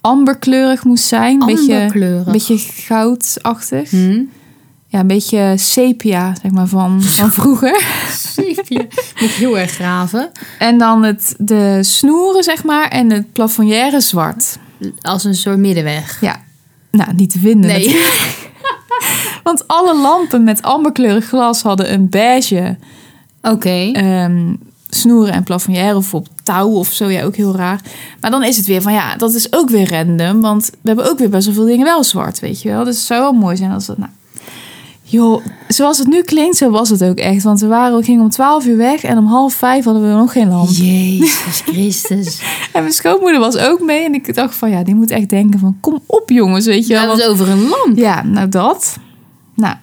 Speaker 1: amberkleurig moest zijn. Een beetje,
Speaker 2: Amberkleurig.
Speaker 1: een beetje goudachtig.
Speaker 2: Mhm.
Speaker 1: Ja, een beetje sepia, zeg maar, van, van vroeger.
Speaker 2: Zeepje. Moet ik heel erg graven.
Speaker 1: En dan het, de snoeren, zeg maar, en het plafonnière zwart.
Speaker 2: Als een soort middenweg.
Speaker 1: Ja. Nou, niet te vinden.
Speaker 2: Nee.
Speaker 1: natuurlijk. Want alle lampen met amberkleurig glas hadden een beige
Speaker 2: Oké.
Speaker 1: ehm, snoeren en plafonnière. Of op touw of zo. Ja, ook heel raar. Maar dan is het weer van, ja, dat is ook weer random. Want we hebben ook weer best wel veel dingen wel zwart, weet je wel. Dus het zou wel mooi zijn als dat, nou... Joh, zoals het nu klinkt, zo was het ook echt. Want we, waren, we gingen om 12 uur weg en om half vijf hadden we nog geen lamp.
Speaker 2: Jezus Christus.
Speaker 1: En mijn schoonmoeder was ook mee. En ik dacht van, ja, die moet echt denken van, kom op jongens, weet je
Speaker 2: We
Speaker 1: wel.
Speaker 2: hebben het over een lamp.
Speaker 1: Ja, nou dat. Nou,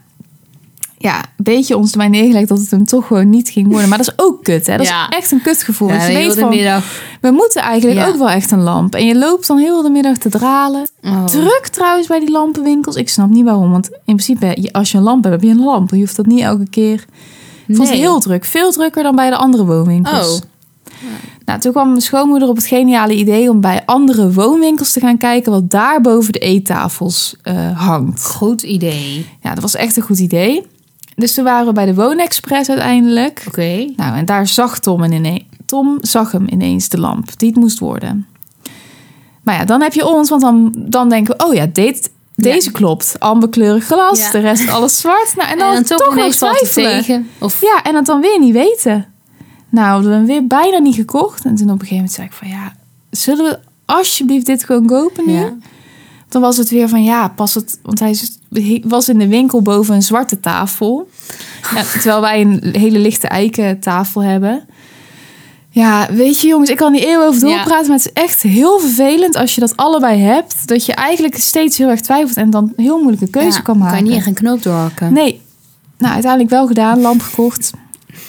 Speaker 1: ja, een beetje ons erbij neergelegd dat het hem toch gewoon niet ging worden. Maar dat is ook kut, hè. Dat
Speaker 2: Ja.
Speaker 1: is echt een kutgevoel.
Speaker 2: Ja,
Speaker 1: want je
Speaker 2: heel
Speaker 1: weet
Speaker 2: de
Speaker 1: van,
Speaker 2: middag.
Speaker 1: we moeten eigenlijk
Speaker 2: Ja.
Speaker 1: ook wel echt een lamp. En je loopt dan heel de middag te dralen.
Speaker 2: Oh.
Speaker 1: Druk trouwens bij die lampenwinkels. Ik snap niet waarom, want in principe, je- als je een lamp hebt, heb je een lamp. Je hoeft dat niet elke keer... Ik vond het
Speaker 2: Nee.
Speaker 1: heel druk. Veel drukker dan bij de andere woonwinkels.
Speaker 2: Oh.
Speaker 1: Nou, toen kwam mijn schoonmoeder op het geniale idee om bij andere woonwinkels te gaan kijken wat daar boven de eettafels eh, hangt.
Speaker 2: Goed idee.
Speaker 1: Ja, dat was echt een goed idee. Dus toen waren we bij de Woonexpress uiteindelijk.
Speaker 2: Oké.
Speaker 1: Nou, en daar zag Tom, en ineen- Tom zag hem ineens de lamp die het moest worden. Maar ja, dan heb je ons, want dan, dan denken we, oh ja, dit, deze klopt. Amberkleurig glas,
Speaker 2: Ja.
Speaker 1: de rest alles zwart. Nou, en dan, toch nog
Speaker 2: ineens valt het
Speaker 1: twijfelen.
Speaker 2: tegen. Of
Speaker 1: Ja, en het dan weer niet weten. Nou, we hadden hem weer bijna niet gekocht. En toen op een gegeven moment zei ik van ja, zullen we alsjeblieft dit gewoon kopen nu?
Speaker 2: Ja.
Speaker 1: Dan was het weer van ja, pas het. Want hij is- hij was in de winkel boven een zwarte tafel. Ja, terwijl wij een hele lichte eiken tafel hebben. Ja, weet je jongens, ik kan die eeuw over
Speaker 2: Ja.
Speaker 1: doorpraten. praten, Maar het is echt heel vervelend als je dat allebei hebt. Dat je eigenlijk steeds heel erg twijfelt en dan heel moeilijke keuze
Speaker 2: Ja,
Speaker 1: kan maken.
Speaker 2: Kan je niet echt een knoop doorhakken.
Speaker 1: Nee. Nou, uiteindelijk wel gedaan. Lamp gekocht.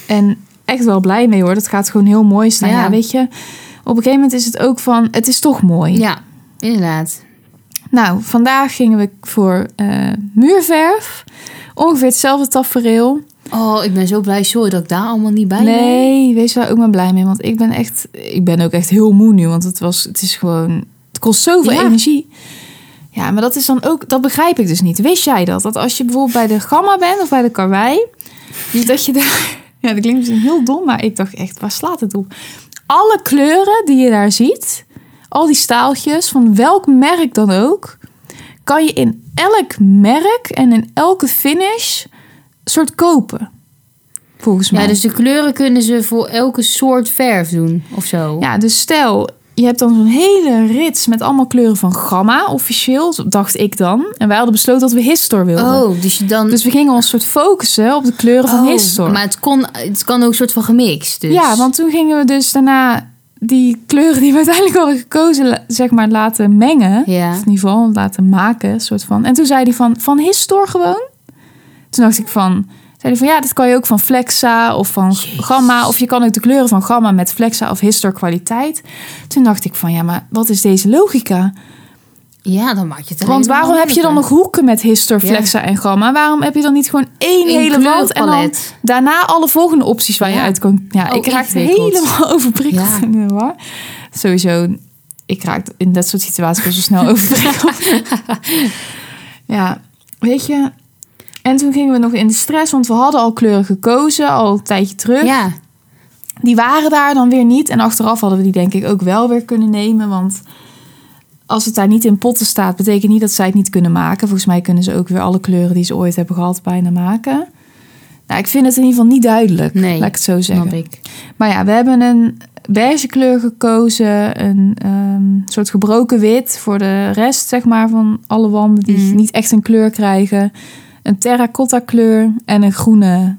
Speaker 1: En echt wel blij mee hoor. Dat gaat gewoon heel mooi staan. Ja.
Speaker 2: Ja.
Speaker 1: weet je. Op een gegeven moment is het ook van... Het is toch mooi.
Speaker 2: Ja, inderdaad.
Speaker 1: Nou, vandaag gingen we voor eh, muurverf. Ongeveer hetzelfde tafereel.
Speaker 2: Oh, ik ben zo blij. Sorry dat ik daar allemaal niet bij ben.
Speaker 1: Nee, wees daar ook maar blij mee. Want ik ben echt... Ik ben ook echt heel moe nu. Want het, was, het is gewoon... Het kost zoveel
Speaker 2: Ja.
Speaker 1: energie. Ja, maar dat is dan ook... Dat begrijp ik dus niet. Wist jij dat? Dat als je bijvoorbeeld bij de Gamma bent of bij de Karwei... Dat je daar... Ja, dat klinkt misschien heel dom. Maar ik dacht echt, waar slaat het op? Alle kleuren die je daar ziet... Al die staaltjes, van welk merk dan ook... Kan je in elk merk en in elke finish... soort kopen. Volgens mij.
Speaker 2: Ja, dus de kleuren kunnen ze voor elke soort verf doen of zo.
Speaker 1: Ja, dus stel, je hebt dan zo'n hele rits met allemaal kleuren van gamma, officieel, zo dacht ik dan. En wij hadden besloten dat we Histor wilden.
Speaker 2: Oh, dus je dan...
Speaker 1: Dus we gingen ons soort focussen op de kleuren van
Speaker 2: Oh,
Speaker 1: Histor.
Speaker 2: Maar het, kon, het kan ook een soort van gemixt. Dus.
Speaker 1: Ja, want toen gingen we dus daarna die kleuren die we uiteindelijk hadden gekozen, la- zeg maar, laten mengen.
Speaker 2: Ja.
Speaker 1: Of in ieder geval laten maken, soort van. En toen zei hij van, van Histor gewoon. Toen dacht ik van, zei hij van, ja, dat kan je ook van Flexa of van Gamma. Of je kan ook de kleuren van Gamma met Flexa of Histor kwaliteit. Toen dacht ik van, ja, maar wat is deze logica?
Speaker 2: Ja, dan maak je het alleen
Speaker 1: Want
Speaker 2: maar
Speaker 1: waarom heb je dan nog
Speaker 2: makkelijker.
Speaker 1: hoeken met Histor,
Speaker 2: Ja.
Speaker 1: Flexa en Gamma? Waarom heb je dan niet gewoon één
Speaker 2: Eén
Speaker 1: hele wand en dan
Speaker 2: kleurpalet.
Speaker 1: daarna alle volgende opties waar je
Speaker 2: Ja.
Speaker 1: uit kan? Ja,
Speaker 2: Oh,
Speaker 1: ik raakte
Speaker 2: ingewikkeld.
Speaker 1: helemaal overprikkeld
Speaker 2: Ja.
Speaker 1: in de war. Sowieso, ik raak in dat soort situaties best wel snel overprikkeld. ja, weet je, En toen gingen we nog in de stress, want we hadden al kleuren gekozen, al een tijdje terug.
Speaker 2: Ja.
Speaker 1: Die waren daar dan weer niet. En achteraf hadden we die denk ik ook wel weer kunnen nemen. Want als het daar niet in potten staat, betekent niet dat zij het niet kunnen maken. Volgens mij kunnen ze ook weer alle kleuren die ze ooit hebben gehad bijna maken. Nou, ik vind het in ieder geval niet duidelijk,
Speaker 2: Nee,
Speaker 1: laat ik het zo zeggen.
Speaker 2: Snap ik.
Speaker 1: Maar ja, we hebben een beige kleur gekozen. Een ehm, soort gebroken wit voor de rest, zeg maar, van alle wanden die
Speaker 2: Mhm.
Speaker 1: niet echt een kleur krijgen. Een terracotta kleur en een groene,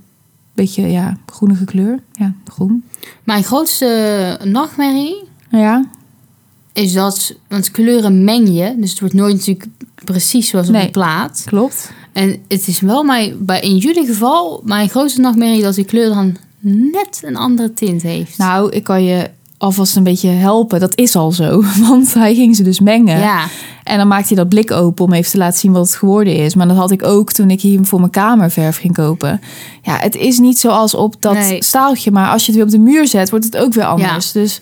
Speaker 1: beetje, ja, groenige kleur. Ja, groen.
Speaker 2: Mijn grootste nachtmerrie
Speaker 1: Ja,
Speaker 2: is dat, want kleuren meng je, dus het wordt nooit natuurlijk precies zoals op
Speaker 1: Nee.
Speaker 2: de plaat.
Speaker 1: klopt.
Speaker 2: En het is wel mijn, bij, in jullie geval mijn grootste nachtmerrie dat die kleur dan net een andere tint heeft.
Speaker 1: Nou, ik kan je alvast een beetje helpen. Dat is al zo, want hij ging ze dus mengen.
Speaker 2: ja.
Speaker 1: En dan maakt hij dat blik open om even te laten zien wat het geworden is. Maar dat had ik ook toen ik hier voor mijn kamerverf ging kopen. Ja, het is niet zoals op dat
Speaker 2: Nee.
Speaker 1: staaltje. Maar als je het weer op de muur zet, wordt het ook weer anders. Dus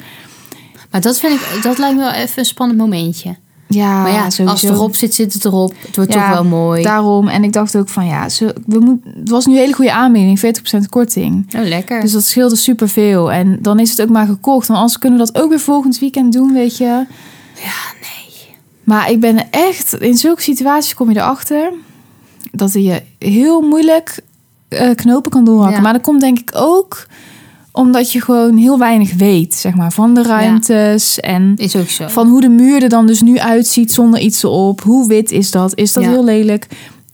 Speaker 2: Maar dat vind ik, dat lijkt me wel even een spannend momentje.
Speaker 1: ja,
Speaker 2: maar ja,
Speaker 1: Ah, sowieso.
Speaker 2: als het erop zit, zit het erop. Het wordt
Speaker 1: Ja,
Speaker 2: toch wel mooi.
Speaker 1: Daarom. En ik dacht ook van ja, ze, we moet, het was nu een hele goede aanbieding. 40% korting.
Speaker 2: Oh, lekker.
Speaker 1: Dus dat scheelde superveel. En dan is het ook maar gekocht. Want anders kunnen we dat ook weer volgend weekend doen, weet je. Ja, nee. Maar ik ben echt... In zulke situaties kom je erachter... dat je heel moeilijk eh, knopen kan doorhakken.
Speaker 2: Ja.
Speaker 1: Maar dat komt denk ik ook omdat je gewoon heel weinig weet, zeg maar, van de ruimtes en
Speaker 2: is ook zo.
Speaker 1: van hoe de muur er dan dus nu uitziet zonder iets erop. Hoe wit is dat? Is dat
Speaker 2: Ja.
Speaker 1: heel lelijk?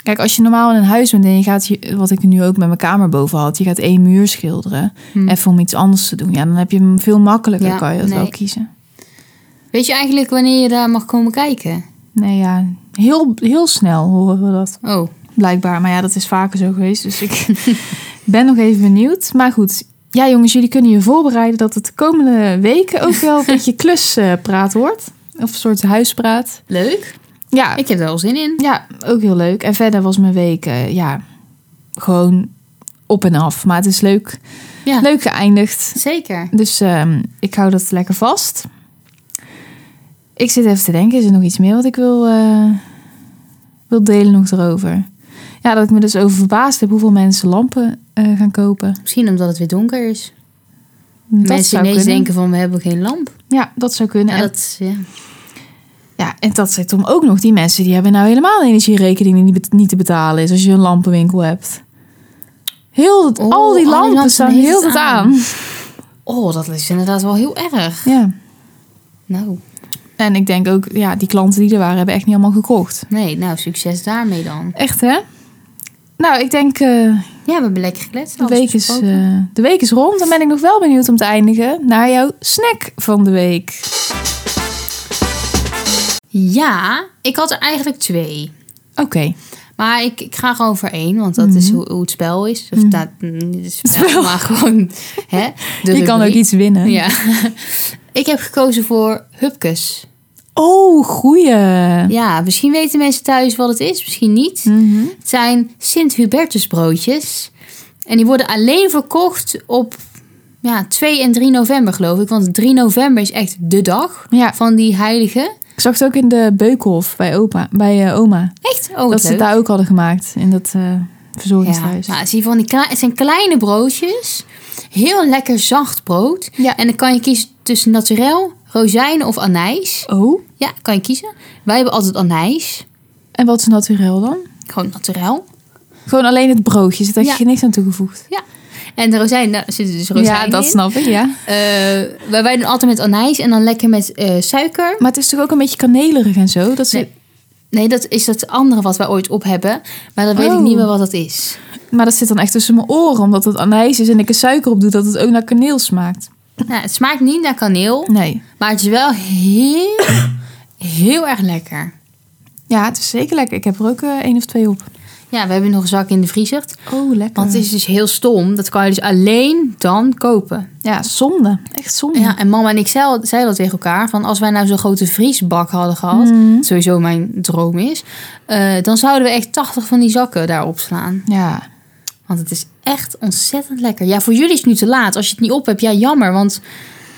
Speaker 1: Kijk, als je normaal in een huis bent en je gaat, je- wat ik nu ook met mijn kamer boven had, je gaat één muur schilderen.
Speaker 2: Hm.
Speaker 1: Even om iets anders te doen. Ja, dan heb je hem veel makkelijker,
Speaker 2: Ja,
Speaker 1: kan je dat
Speaker 2: nee.
Speaker 1: wel kiezen.
Speaker 2: Weet je eigenlijk wanneer je daar mag komen kijken?
Speaker 1: Nee, ja, heel, heel snel horen we dat
Speaker 2: Oh,
Speaker 1: blijkbaar. Maar ja, dat is vaker zo geweest, dus ik ben nog even benieuwd. Maar goed, ja jongens, jullie kunnen je voorbereiden dat het de komende weken ook wel een beetje kluspraat wordt. Of een soort huispraat.
Speaker 2: leuk.
Speaker 1: Ja,
Speaker 2: Ik heb er wel zin in.
Speaker 1: Ja, ook heel leuk. En verder was mijn week eh, ja, gewoon op en af. Maar het is leuk,
Speaker 2: Ja,
Speaker 1: leuk geëindigd.
Speaker 2: zeker.
Speaker 1: Dus ehm, ik hou dat lekker vast. Ik zit even te denken, is er nog iets meer wat ik wil, eh, wil delen nog erover? Ja, dat ik me dus over verbaasd heb hoeveel mensen lampen eh, gaan kopen.
Speaker 2: Misschien omdat het weer donker is.
Speaker 1: Dat
Speaker 2: Mensen
Speaker 1: zou
Speaker 2: ineens
Speaker 1: kunnen.
Speaker 2: denken van, we hebben geen lamp.
Speaker 1: Ja, dat zou kunnen.
Speaker 2: Ja,
Speaker 1: En-
Speaker 2: dat, ja.
Speaker 1: Ja, en dat zit om ook nog. Die mensen die hebben nou helemaal een energierekening die niet bet- niet te betalen is als je een lampenwinkel hebt. Heel, dat-
Speaker 2: Oh,
Speaker 1: al die
Speaker 2: alle
Speaker 1: lampen
Speaker 2: lampen
Speaker 1: staan
Speaker 2: heeft
Speaker 1: heel
Speaker 2: het
Speaker 1: het aan.
Speaker 2: aan. Oh, dat is inderdaad wel heel erg.
Speaker 1: Ja.
Speaker 2: Nou,
Speaker 1: En ik denk ook, ja, die klanten die er waren hebben echt niet allemaal gekocht.
Speaker 2: nee, nou, succes daarmee dan.
Speaker 1: Echt hè? Nou, ik denk eh,
Speaker 2: Ja, we hebben lekker gekletst.
Speaker 1: de,
Speaker 2: alles
Speaker 1: week is,
Speaker 2: besproken.
Speaker 1: eh, de week is rond. Dan ben ik nog wel benieuwd om te eindigen naar jouw snack van de week.
Speaker 2: Ja, ik had er eigenlijk twee.
Speaker 1: Oké.
Speaker 2: Maar ik, ik ga gewoon voor één, want dat
Speaker 1: Mhm.
Speaker 2: is hoe, hoe het spel is. Of dat, niet het spel, maar gewoon hè, de
Speaker 1: Je kan ook
Speaker 2: rubriek.
Speaker 1: iets winnen.
Speaker 2: Ja. ik heb gekozen voor hupkes.
Speaker 1: Oh, goeie.
Speaker 2: Ja, misschien weten mensen thuis wat het is, misschien niet.
Speaker 1: Mhm.
Speaker 2: Het zijn Sint-Hubertus broodjes. En die worden alleen verkocht op ja, 2 en 3 november, geloof ik. Want 3 november is echt de dag
Speaker 1: Ja.
Speaker 2: van die heilige.
Speaker 1: Ik zag het ook in de Beukhof bij, opa, bij eh, oma.
Speaker 2: Echt? Oh,
Speaker 1: dat ze het daar ook hadden gemaakt in dat eh,
Speaker 2: ja.
Speaker 1: verzorgingshuis.
Speaker 2: Nou, zie je van die kle- het zijn kleine broodjes. Heel lekker zacht brood.
Speaker 1: Ja.
Speaker 2: En dan kan je kiezen tussen naturel, rozijnen of anijs.
Speaker 1: Oh,
Speaker 2: Ja, kan je kiezen. Wij hebben altijd anijs.
Speaker 1: en wat is naturel dan?
Speaker 2: Gewoon naturel.
Speaker 1: Gewoon alleen het broodje, zit daar
Speaker 2: Ja.
Speaker 1: je niks aan toegevoegd.
Speaker 2: Ja. En de rozijnen, nou, er zitten dus rozijnen
Speaker 1: ja, dat
Speaker 2: in.
Speaker 1: snap ik, ja.
Speaker 2: Eh, wij, wij doen altijd met anijs en dan lekker met eh, suiker.
Speaker 1: Maar het is toch ook een beetje kanelerig en zo? Dat ze...
Speaker 2: Nee. Nee, dat is dat andere wat wij ooit op hebben. Maar dan weet ik
Speaker 1: Oh.
Speaker 2: niet meer wat dat is.
Speaker 1: Maar dat zit dan echt tussen mijn oren, omdat het anijs is en ik er suiker op doe, dat het ook naar kaneel smaakt.
Speaker 2: Nou, het smaakt niet naar kaneel.
Speaker 1: Nee.
Speaker 2: Maar het is wel heel, heel erg lekker.
Speaker 1: Ja, het is zeker lekker. Ik heb er ook eh, één of twee op.
Speaker 2: Ja, we hebben nog een zak in de vriezer.
Speaker 1: Oh, lekker.
Speaker 2: Want het is dus heel stom. Dat kan je dus alleen dan kopen.
Speaker 1: Ja, zonde. Echt zonde.
Speaker 2: Ja, en mama en ik zeiden zei dat tegen elkaar. Van als wij nou zo'n grote vriesbak hadden gehad.
Speaker 1: Mm.
Speaker 2: wat Sowieso mijn droom is. eh, dan zouden we echt 80 van die zakken daarop slaan.
Speaker 1: Ja.
Speaker 2: Want het is echt ontzettend lekker. Ja, voor jullie is het nu te laat. Als je het niet op hebt, ja jammer. Want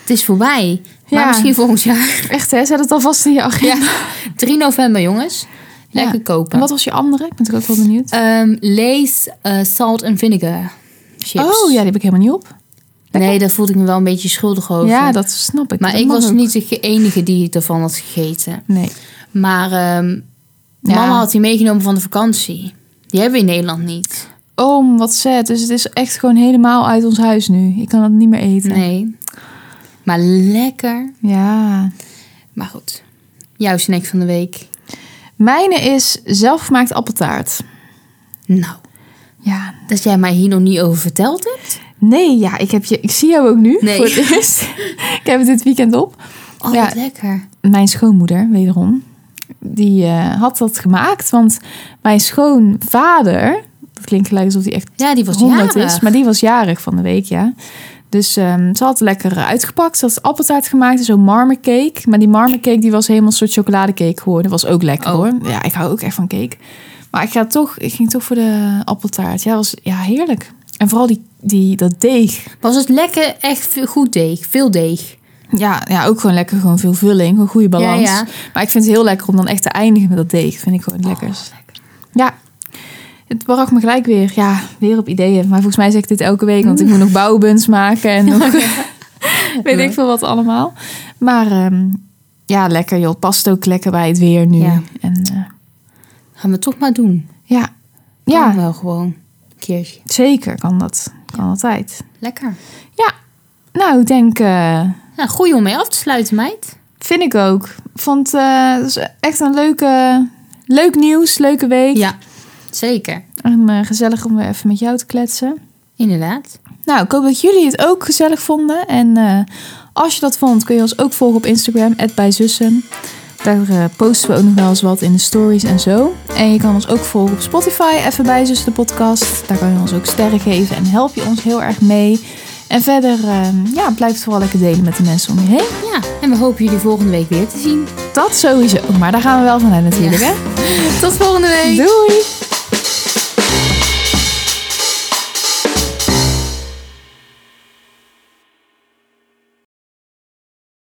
Speaker 2: het is voorbij. Maar
Speaker 1: Ja.
Speaker 2: misschien volgend jaar.
Speaker 1: Echt hè, zet het alvast in je agenda.
Speaker 2: Ja. 3 november jongens. Lekker
Speaker 1: Ja.
Speaker 2: kopen.
Speaker 1: En wat was je andere? Ik ben natuurlijk ook wel benieuwd.
Speaker 2: Ehm, Lay's eh, salt and vinegar chips.
Speaker 1: Oh ja, die heb ik helemaal niet op.
Speaker 2: Nee, daar voelde ik me wel een beetje schuldig over.
Speaker 1: Ja, dat snap ik.
Speaker 2: maar
Speaker 1: Dat
Speaker 2: ik
Speaker 1: mag
Speaker 2: was
Speaker 1: ook.
Speaker 2: niet de enige die ervan had gegeten.
Speaker 1: Nee.
Speaker 2: Maar ehm,
Speaker 1: Ja.
Speaker 2: mama had die meegenomen van de vakantie. Die hebben we in Nederland niet.
Speaker 1: Oh, wat sad. Dus het is echt gewoon helemaal uit ons huis nu. Ik kan het niet meer eten.
Speaker 2: Nee. Maar lekker.
Speaker 1: Ja.
Speaker 2: Maar goed. Jouw snack van de week.
Speaker 1: Mijne is zelfgemaakt appeltaart.
Speaker 2: Nou,
Speaker 1: Ja.
Speaker 2: dat jij mij hier nog niet over verteld hebt.
Speaker 1: Nee, ja, ik, heb je, ik zie jou ook nu
Speaker 2: Nee.
Speaker 1: voor het eerst. ik heb het dit weekend op.
Speaker 2: Oh,
Speaker 1: Ja.
Speaker 2: wat lekker.
Speaker 1: mijn schoonmoeder, wederom, die eh, had dat gemaakt. Want mijn schoonvader, dat klinkt gelijk alsof hij echt
Speaker 2: Ja, die was
Speaker 1: 100
Speaker 2: jarig.
Speaker 1: is, maar die was jarig van de week, ja. Dus ehm, ze had het lekker uitgepakt. Ze had appeltaart gemaakt en zo'n marmercake. Maar die marmercake die was helemaal een soort chocoladecake geworden. Was ook lekker
Speaker 2: Oh.
Speaker 1: hoor. Ja, ik hou ook echt van cake. Maar ik, ga toch, ik ging toch voor de appeltaart. Ja, was ja, heerlijk. En vooral die, die, dat deeg.
Speaker 2: Was het lekker echt veel- goed deeg? Veel deeg.
Speaker 1: Ja, ja, ook gewoon lekker. Gewoon veel vulling. Gewoon goede balans.
Speaker 2: Ja, ja.
Speaker 1: Maar ik vind het heel lekker om dan echt te eindigen met dat deeg. Vind ik gewoon lekker.
Speaker 2: Oh,
Speaker 1: Ja. Het bracht me gelijk weer, ja, weer op ideeën. Maar volgens mij zeg ik dit elke week, want ik moet nog bouwbuns maken en nog weet ik veel wat allemaal. Maar ehm, ja, lekker joh. Het Past ook lekker bij het weer nu.
Speaker 2: Ja.
Speaker 1: En eh,
Speaker 2: Gaan we toch maar doen.
Speaker 1: ja,
Speaker 2: Kan
Speaker 1: ja,
Speaker 2: wel gewoon. Een keertje.
Speaker 1: zeker kan dat. Kan altijd.
Speaker 2: Lekker.
Speaker 1: Ja, nou ik denk... eh,
Speaker 2: Nou, goeie om mee af te sluiten, meid.
Speaker 1: Vind ik ook. Vond eh, het is echt een leuke, leuk nieuws, leuke week.
Speaker 2: Ja, zeker.
Speaker 1: En eh, gezellig om weer even met jou te kletsen.
Speaker 2: Inderdaad.
Speaker 1: Nou, ik hoop dat jullie het ook gezellig vonden. En eh, als je dat vond, kun je ons ook volgen op Instagram, @bijzussen. Daar eh, posten we ook nog wel eens wat in de stories en zo. En je kan ons ook volgen op Spotify, even bij Zussen de podcast. Daar kan je ons ook sterren geven en help je ons heel erg mee. En verder, eh, ja, blijf het vooral lekker delen met de mensen om je heen.
Speaker 2: Ja, en we hopen jullie volgende week weer te zien.
Speaker 1: Dat sowieso. Maar daar gaan we wel vanuit natuurlijk, hè?
Speaker 2: Tot volgende week.
Speaker 1: Doei!